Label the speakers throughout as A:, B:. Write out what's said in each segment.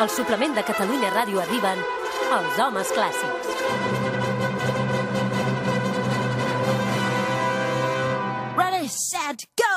A: El suplement de Catalunya Ràdio arriben els homes clàssics.
B: Ready, set, go!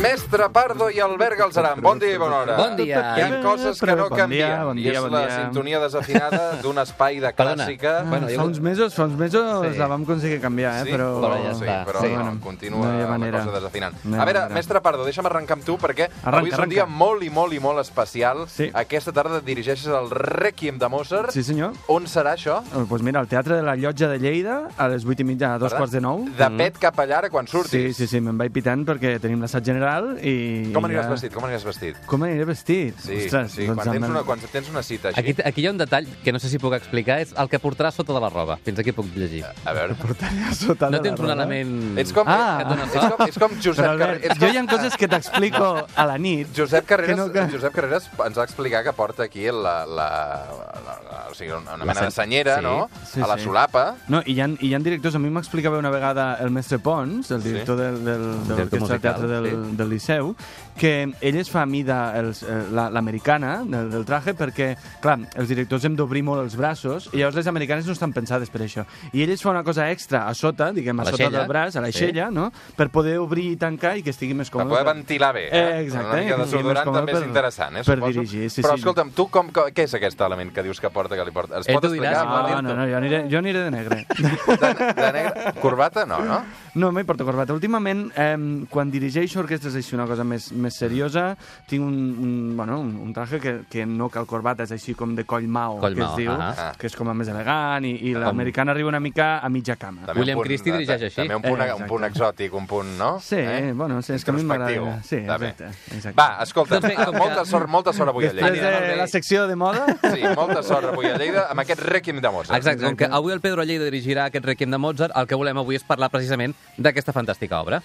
C: Mestre Pardo i Albert Galzeran, bon dia i bona hora.
D: Bon dia.
C: Hi ha coses que no
E: Bon dia,
C: canvien,
E: bon
C: i
E: dia,
C: és
E: bon
C: la
E: dia.
C: sintonia desafinada d'un espai de
D: Perdona.
C: clàssica.
D: Ah,
E: Bueno,
D: jo-
E: fa uns mesos, fa uns mesos
D: Sí.
E: sí. la vam aconseguir canviar, eh?
C: Sí,
E: però...
C: però,
D: ja
C: sí,
D: està.
C: però
D: Sí.
C: no, continua
E: No hi ha
C: la
E: manera.
C: cosa desafinant.
E: No hi ha
C: a veure,
E: manera.
C: mestre Pardo, deixa'm arrencar amb tu, perquè
E: Arranca,
C: avui és un
E: arranca.
C: dia molt i molt i molt especial.
E: Sí.
C: Aquesta tarda et dirigeixes al Requiem de Mozart.
E: Sí, senyor.
C: On serà això?
E: Doncs pues mira, al Teatre de la Llotja de Lleida, a les 8 i mitja, a dos quarts de nou. Mm.
C: De pet cap a llara quan
E: Sí,
C: surtis.
E: sí, sí, me'n vaig pitant perquè tenim l'assaig general i...
C: Com
E: i
C: aniràs
E: ja-
C: vestit? Com aniràs vestit?
E: Com aniré vestit?
C: Sí,
E: Ostres,
C: sí.
E: doncs
C: Quan tens,
E: amb-
C: una, quan tens una cita així...
D: Aquí, aquí hi ha un detall que no sé si puc explicar, és el que portarà sota de la roba. Fins aquí puc llegir.
C: A veure...
E: Sota de
D: No
E: la
D: tens un
E: roba.
D: element...
C: Ets com,
D: Ah,
C: ah,
D: que et dona
C: ets
D: sort.
C: com, ets com Josep Carreras.
E: Però, Albert,
C: Ets
E: jo
C: com-
E: hi ha coses que t'explico a la nit.
C: Josep Carreras,
E: Que no- que-
C: Josep Carreras ens va explicar que porta aquí la, la, la, la o sigui, una mena
D: sen-
C: de senyera,
D: sí,
C: no?
E: sí,
C: a la
E: sí.
C: solapa.
E: No, i hi ha, i hi ha directors, a mi m'explicava una vegada el mestre Pons, el director sí. del, del, de l'Orquestra de
D: musical,
E: Teatre del, sí. del Liceu, que ell es fa a mida els, eh, la- l'americana la, del, del traje perquè, clar, els directors hem d'obrir molt els braços i llavors les americanes no estan pensades per això. I ell es fa una cosa extra a sota, diguem,
D: A
E: a,
D: la
E: sota
D: aixella.
E: del braç, a l'aixella, sí. no?, per poder obrir i tancar i que estigui més
C: Per
E: còmode.
C: poder ventilar bé.
E: Eh, exacte,
C: Una mica
E: que
C: de
E: sigui més
C: desodorant
E: còmode
C: també és
E: per-
C: interessant, eh,
E: per
C: suposo.
E: dirigir, sí,
C: Però
E: sí.
C: escolta'm, tu com, com, què és aquest element que dius que porta que li porta? Es
D: Ell
C: pot
D: t'ho dirà,
C: explicar,
D: si vol
E: Ah, No,
C: Martín?
E: no, no, jo aniré, jo aniré de negre.
C: De, de negre? Corbata? No, no?
E: No, mai porto corbata. Últimament, eh, quan dirigeixo orquestres així una cosa més, més seriosa, tinc un, un, bueno, un, un traje que, que no cal corbata, és així com de coll mao,
D: Coll
E: que
D: mao,
E: es diu,
D: ahà.
E: que és com a més elegant, i, i l'americana arriba una mica a mitja cama.
C: També un
D: William
C: punt-
D: Christie dirigeix així.
C: També un punt,
E: Eh,
C: un
E: exacte.
C: punt exòtic, un punt, no? Eh?
E: Sí, eh, bueno, sí, és que a mi
C: Introspectiu,
E: m'agrada. Sí,
C: també.
E: exacte, exacte.
C: Va, escolta,
D: Doncs bé, com que-
C: molta sort, molta sort avui a
E: Després
C: Lleida.
D: Anirà molt
E: de
D: bé.
E: la secció de moda...
C: Sí, molta sort avui a Lleida amb aquest rèquim de Mozart.
D: Exacte, com que avui el Pedro Lleida dirigirà aquest Requiem de Mozart, el que volem avui és parlar precisament d'aquesta fantàstica obra.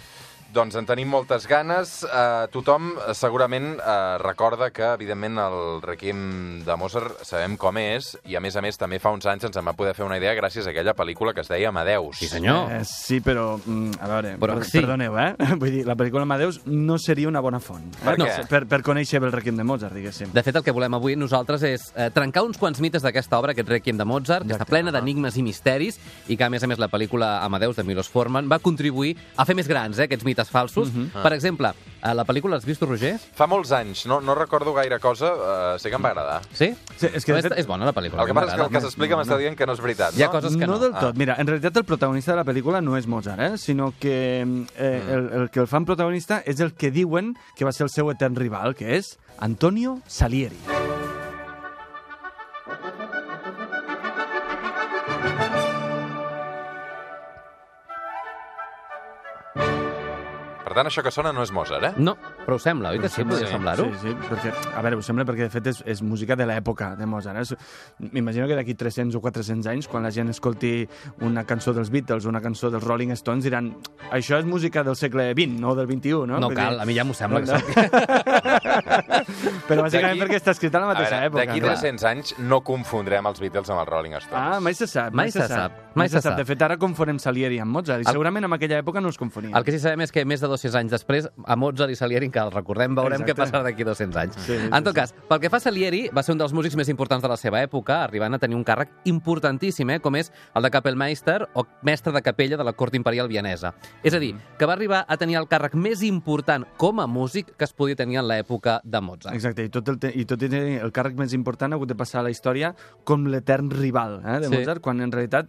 C: Doncs en tenim moltes ganes. Uh, tothom eh, segurament uh, recorda que, evidentment, el Requiem de Mozart sabem com és, i a més a més també fa uns anys ens en va poder fer una idea gràcies a aquella pel·lícula que es deia Amadeus.
D: Sí, senyor.
E: Eh, sí, però, mm, a veure,
D: Però
E: per-
D: sí.
E: perdoneu, eh? Vull dir, la pel·lícula Amadeus no seria una bona font.
C: Per
E: eh?
C: No. què?
E: per, per, per conèixer bé el Requiem de Mozart, diguéssim.
D: De fet, el que volem avui nosaltres és eh, trencar uns quants mites d'aquesta obra, aquest Requiem de Mozart, que està plena d'enigmes i misteris, i que, a més a més, la pel·lícula Amadeus de Milos Forman va contribuir a fer més grans eh, aquests mites falsos. Per exemple, eh, la pel·lícula Has vist, Roger?
C: Fa molts anys, no, no recordo gaire cosa, uh, sé que em va agradar.
D: Sí?
E: Sí, és que, de
D: és,
E: fet-
D: és bona, la pel·lícula.
C: El que passa és que el que
D: m'agrada.
C: s'explica m'està dient que no és veritat,
D: Hi ha
C: no?
D: coses que no.
E: del tot. Mira, en realitat el protagonista de la pel·lícula no és Mozart, eh? sinó que eh, el, el que el fan protagonista és el que diuen que va ser el seu etern rival, que és Antonio Salieri.
C: Per tant, això que sona no és Mozart, eh?
D: No, però ho sembla, oi que sí? Podria
C: sí,
D: semblar-ho.
E: Sí, sí, perquè, a veure, ho sembla perquè de fet és, és música de l'època de Mozart. Eh? M'imagino que d'aquí 300 o 400 anys, quan la gent escolti una cançó dels Beatles o una cançó dels Rolling Stones, diran això és música del segle XX, no del XXI, no?
D: No
E: Vull
D: cal, a mi ja m'ho sembla que sóc.
E: Però bàsicament
C: D'aquí-
E: perquè està escrita a la
C: A
E: mateixa
C: veure,
E: època.
C: d'aquí
E: clar.
C: 300 anys no confondrem els Beatles amb els Rolling Stones.
E: Ah, mai se sap.
D: Mai se sap, mai se sap.
E: De fet, ara confonem Salieri amb Mozart, i
D: El-
E: segurament en aquella època no els confoníem.
D: El que sí sabem és que més de 200 anys després, a Mozart i Salieri, que el recordem, veurem
E: Exacte.
D: què passarà d'aquí 200 anys.
E: Sí, sí,
D: en tot
E: sí.
D: cas, pel que fa a Salieri, va ser un dels músics més importants de la seva època, arribant a tenir un càrrec importantíssim, eh, com és el de Kapellmeister o mestre de capella de la cort imperial vienesa. És a dir,
E: Mm.
D: que va arribar a tenir el càrrec més important com a músic que es podia tenir en l'època de Mozart.
E: Exacte, i tot, el te- i tot i tenir el càrrec més important ha hagut de passar a la història com l'etern rival eh, de
D: Sí.
E: Mozart, quan en realitat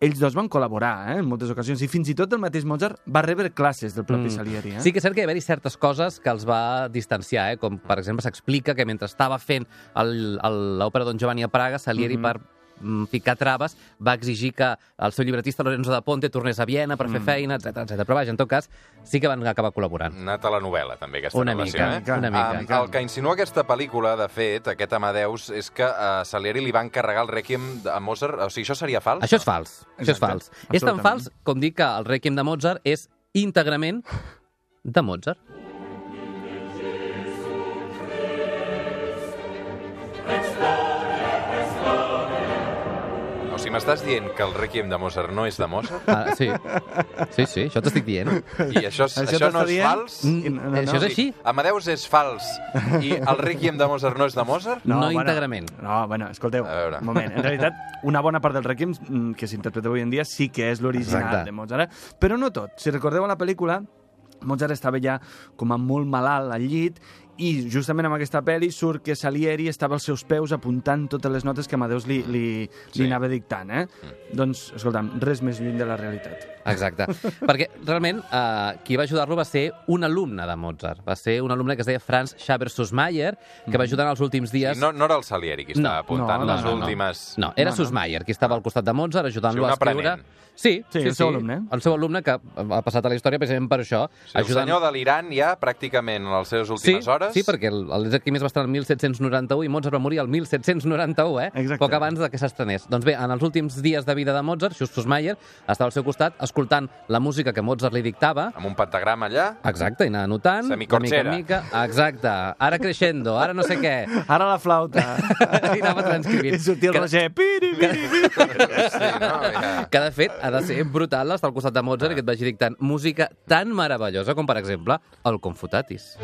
E: ells dos van col·laborar eh, en moltes ocasions, i fins i tot el mateix Mozart va rebre classes del propi Salieri. Eh?
D: Mm. Sí que és cert que hi va haver certes coses que els va distanciar, eh? com per exemple s'explica que mentre estava fent el- el- l'òpera Don Giovanni a Praga, Salieri
C: Mhm.
D: per mm, ficar traves, va exigir que el seu llibretista Lorenzo da Ponte tornés a Viena per fer
C: Mhm.
D: feina, etc etc. Però vaja, en tot cas, sí que van acabar col·laborant.
C: Una telenovela, també, aquesta
D: Una
C: relació.
D: mica,
C: eh?
D: una mica.
C: Um, el que insinua aquesta pel·lícula, de fet, aquest Amadeus, és que a Salieri li van carregar el Requiem a Mozart. O sigui, això seria fals?
D: Això és fals, això és
E: Exacte,
D: fals. És tan
E: absolutament.
D: fals com dir que el Requiem de Mozart és íntegrament de Mozart.
C: O sigui, si m'estàs dient que el Requiem de Mozart no és de Mozart,
D: Ah, sí. sí, sí, això t'estic dient.
C: i això, és-
E: Això
C: això no
E: t'està
C: és
E: dient?
C: fals...
E: Mm, no, no,
D: això és
E: sí.
D: així?
C: Amadeus és fals i el Requiem de Mozart no és de Mozart?
D: No íntegrament.
E: No, bueno, escolteu,
C: A veure.
E: un moment. En realitat, una bona part del Requiem mm, que s'interpreta avui en dia sí que és l'original
D: Exacte.
E: de Mozart, eh? però no tot. Si recordeu a la pel·lícula, Mozart estava ja com a molt malalt al llit i justament amb aquesta pel·li surt que Salieri estava als seus peus apuntant totes les notes que Amadeus li, li,
C: Sí.
E: li anava dictant, eh?
D: Mm.
E: Doncs, escolta'm, res més lluny de la realitat.
D: Exacte. Perquè realment eh, qui va ajudar-lo va ser un alumne de Mozart. Va ser un alumne que es deia Franz Schaber-Sussmayer, que va ajudar en els últims dies... Oh,
C: I Mm-hmm. no, no era el Salieri qui estava
D: No,
C: apuntant
E: no,
C: les
E: no, no.
C: últimes...
D: No, era
E: No, no.
D: Sussmayer, qui estava al costat de Mozart ajudant-lo
C: Sí, un
D: a escriure...
C: aprenent.
D: Sí,
E: Sí, el seu alumne.
D: El seu alumne que ha passat a la història precisament per això.
C: Sí, el senyor de l'Iran ja, pràcticament, a les seves
D: Sí,
C: últimes hores...
D: sí, perquè el, el Requiem es va estrenar el 1791 i Mozart va morir el 1791, eh?
E: Exacte.
D: Poc abans de que s'estrenés. Doncs bé, en els últims dies de vida de Mozart, Justus Mayer estava al seu costat escoltant la música que Mozart li dictava,
C: Amb un pentagrama allà...
D: Exacte, i anar anotant, de mica en
C: Semicorchera.
D: mica. Exacte, ara creixendo, ara no sé què.
E: Ara la flauta.
D: I anava transcrivint.
E: I sortia el
D: Que-
E: Roger. Piri, piri, piri.
C: Sí, no? Ja.
D: Que, de fet, ha de ser brutal estar al costat de Mozart i que et vagi dictant música tan meravellosa com, per exemple, el Confutatis.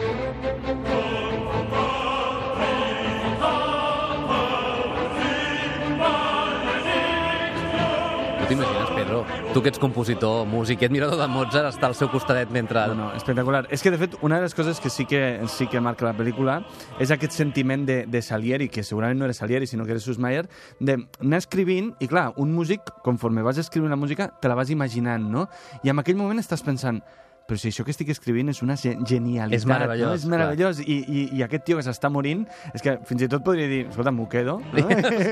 D: Tu t'imagines, Pedro, tu que ets compositor, músic i admirador de Mozart, estar al seu costadet mentre...
E: No, no, espectacular. És que, de fet, una de les coses que sí que, sí que marca la pel·lícula és aquest sentiment de, de Salieri, que segurament no era Salieri, sinó que era Sussmayer, d'anar escrivint, i clar, un músic, conforme vas escrivint la música, te la vas imaginant, no? I en aquell moment estàs pensant, però si això que estic escrivint és una ge- genialitat,
D: És meravellós,
E: no? és meravellós. I, i, I aquest tio que s'està morint, és que fins i tot podria dir, escolta, m'ho quedo, no?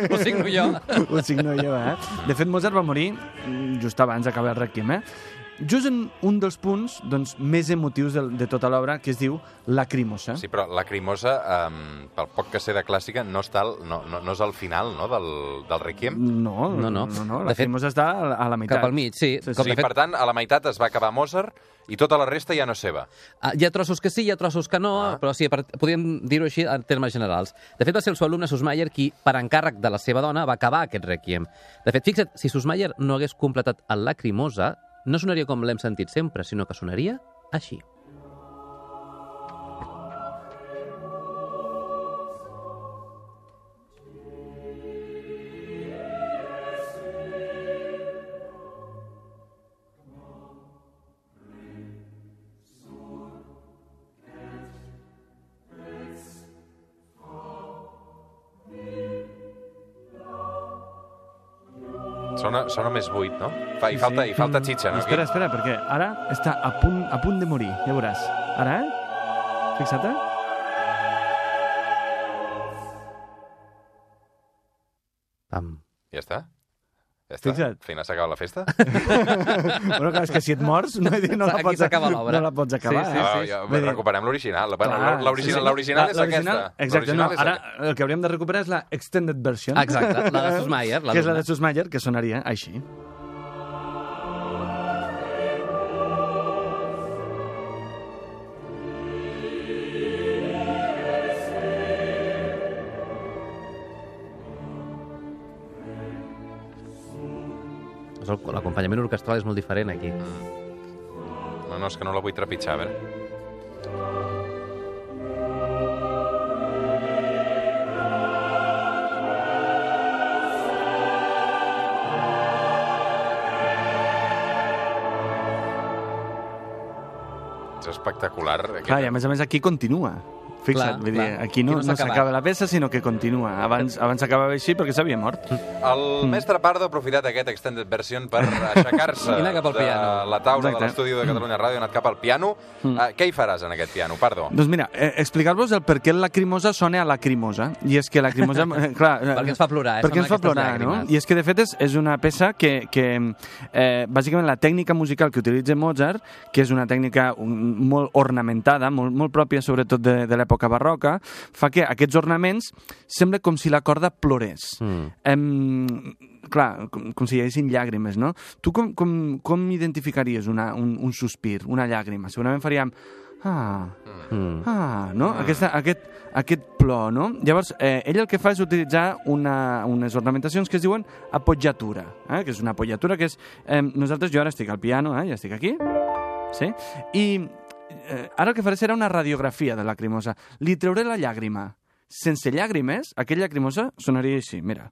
D: Ho signo jo.
E: Ho signo jo, eh? De fet, Mozart va morir mm, just abans d'acabar el Requiem, eh? Just en un dels punts doncs, més emotius de, de tota l'obra, que es diu eh? Lacrimosa.
C: Sí, però Lacrimosa, um, pel poc que sé de clàssica, no, està al, no, no, no és al final no, del, del Requiem.
E: No,
D: No,
E: no,
D: no.
E: no, no, no.
D: De fet,
E: Lacrimosa està a la- a la meitat.
D: Cap al mig, sí.
E: Sí,
D: Com,
E: sí.
C: Sí,
D: de fet,
C: per tant, a la meitat es va acabar Mozart i tota la resta ja no és seva.
D: Ah, Hi ha trossos que sí, hi ha trossos que no,
C: Ah.
D: ah. però sí, per, podríem dir-ho així en termes generals. De fet, va ser el seu alumne Sussmayer qui, per encàrrec de la seva dona, va acabar aquest requiem. De fet, fixa't, si Sussmayer no hagués completat el Lacrimosa, no sonaria com l'hem sentit sempre, sinó que sonaria així.
C: Sona, sona més buit, no? Fa, i, falta, I falta xitxa, no?
E: Espera,
C: Aquí.
E: espera, perquè ara està a punt, a punt de morir, ja veuràs. Ara, eh? Fixa't, eh?
D: Pam.
C: Ja està? Ja està?
E: Fixa't.
C: Al final s'acaba la festa?
E: Bueno, clar, és que si et mors no, no, la,
D: Aquí
E: pots,
D: s'acaba l'obra.
E: no la pots acabar.
D: Sí,
E: eh?
C: Ah, ja,
E: Vull dir-
C: recuperem l'original. Bueno,
E: Clar,
C: l'original
E: sí, sí.
C: l'original
E: La-
C: és aquesta.
E: Exacte,
C: L'original
E: no,
C: és
E: ara
C: aquesta.
E: el que hauríem de recuperar és la extended version.
D: Exacte, la de Sussmayer, la
E: que és la
D: d'una.
E: de Sussmayer, que sonaria així.
D: És el- L'acompanyament orquestral és molt diferent aquí.
C: No, no, és que no la vull trepitjar, a veure. És espectacular. Aquest...
E: Clar, i a més a més aquí continua.
D: Clar,
E: Fixa't, vull dir,
D: clar. Aquí
E: aquí no,
D: no
E: no
D: s'acaba.
E: s'acaba la peça, sinó que continua. Abans, abans s'acabava així perquè s'havia mort. Mm.
C: El mestre Pardo ha aprofitat aquest extended version per aixecar-se
D: I anar cap al
C: de
D: piano.
C: la taula
E: Exacte. Mm.
C: de l'estudi de Catalunya Ràdio, ha anat cap al piano. Uh, què hi faràs en aquest piano, Pardo?
E: Doncs mira, eh, explicar-vos el per què la lacrimosa sona a lacrimosa. I és que la lacrimosa... eh, clar, eh,
D: Perquè ens fa plorar, eh?
E: Perquè ens fa
D: Sembla aquestes
E: plorar, no?
D: llàgrimes.
E: I és que, de fet, és, és una peça que, que eh, bàsicament la tècnica musical que utilitza Mozart, que és una tècnica un, molt ornamentada, molt, molt pròpia sobretot de, de l'època barroca, fa que aquests ornaments sembla com si la corda plorés.
D: Mm.
E: Em, clar, com, com si hi haguessin llàgrimes, no? Tu com, com, com identificaries una, un, un sospir, una llàgrima? Segurament faríem... Ah,
D: Mm.
E: Ah, no? Aquesta, aquest, aquest plor, no? Llavors, eh, ell el que fa és utilitzar una, unes ornamentacions que es diuen appoggiatura, eh? que és una appoggiatura que és... Eh, nosaltres, jo ara estic al piano, eh? ja estic aquí, sí? I eh, ara el que faré serà una radiografia de lacrimosa. Li trauré la llàgrima. Sense llàgrimes, aquella lacrimosa sonaria així, mira.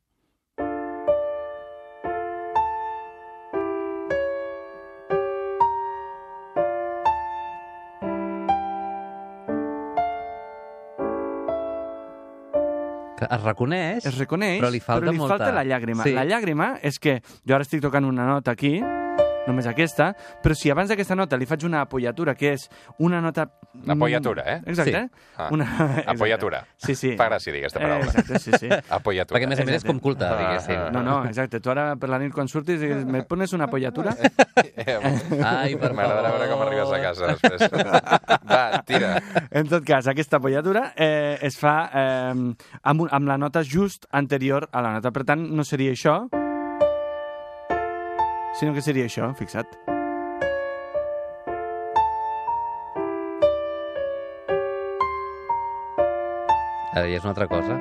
D: Que es reconeix,
E: Es reconeix,
D: però li falta,
E: però li
D: molta...
E: falta la llàgrima.
D: Sí.
E: La llàgrima és que jo ara estic tocant una nota aquí, només aquesta, però si abans d'aquesta nota li faig una apoyatura, que és una nota...
C: Una apoyatura, eh?
E: Exacte. Sí.
C: Ah,
E: Una... exacte.
C: apoyatura.
E: Sí, sí.
C: Fa gràcia dir aquesta
E: Eh,
C: paraula.
E: Exacte, sí, sí.
C: Apoyatura.
D: Perquè, a més a més, és
E: Exacte.
D: com culta,
C: Ah,
D: diguéssim.
C: ah,
E: No, no, exacte. Tu ara per la nit quan surtis digues, me pones una apoyatura?
C: Eh,
D: Ai, per
C: M'agradarà eh, veure com
D: favor.
C: arribes a casa després. Va, tira.
E: En tot cas, aquesta apoyatura eh, es fa eh, amb, un, amb la nota just anterior a la nota. Per tant, no seria això, sinó que seria això, fixa't.
D: Ara ja Eh, és una altra cosa.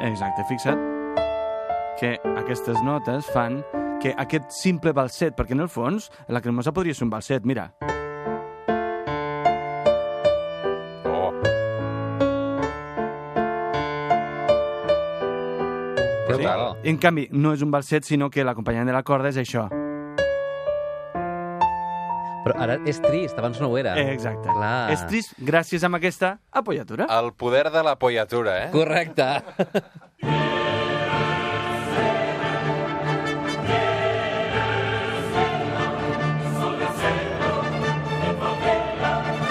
E: Exacte, fixa't que aquestes notes fan que aquest simple balset, perquè en el fons la cremosa podria ser un balset, mira.
C: Oh,
D: Que
C: Sí.
D: bo.
E: En canvi, no és un balset, sinó que l'acompanyant de la corda és això.
D: Però ara és trist, abans no ho era.
E: Eh, exacte.
D: Clar.
E: És trist gràcies a aquesta apoyatura.
C: el poder de l'apoyatura, eh?
D: Correcte.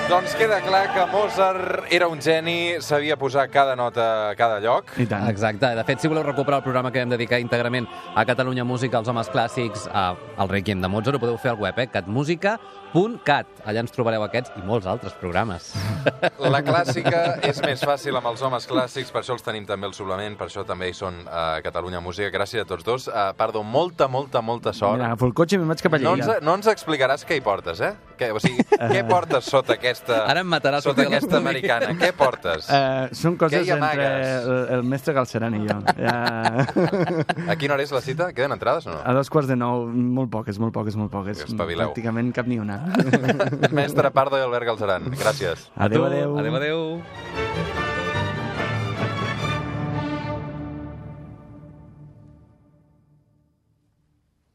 C: Doncs queda clar que Mozart era un geni, sabia posar cada nota a cada lloc.
E: I tant.
D: Exacte. De fet, si voleu recuperar el programa que vam dedicar íntegrament a Catalunya Música, als homes clàssics, a, al Requiem de Mozart, ho podeu fer al web, eh? catmusica.cat. Allà ens trobareu aquests i molts altres programes.
C: La clàssica és més fàcil amb els homes clàssics, per això els tenim també al suplement, per això també hi són eh, a Catalunya Música. Gràcies a tots dos. Uh, perdó, molta, molta, molta sort. Doncs, eh,
E: Mira, agafo el cotxe i me'n vaig cap a
C: No ens,
E: Lleida.
C: no ens explicaràs què hi portes, eh? Què, o sigui, què portes sota aquesta...
D: Ara em matarà
C: Sota
D: sortir de
C: aquesta
D: l'estudi.
C: americana, què portes?
E: Eh, són coses
C: Què hi
E: entre
C: amagues?
E: el, el mestre Galceran i jo. Ja...
C: A quina hora és la cita? Queden entrades o no?
E: A dos quarts de nou, molt poques, molt poques, molt poques.
C: Espavileu.
E: Pràcticament cap ni una.
C: Mestre Pardo i Albert Galzeran, gràcies.
E: Adéu, adéu.
D: Adéu, adéu.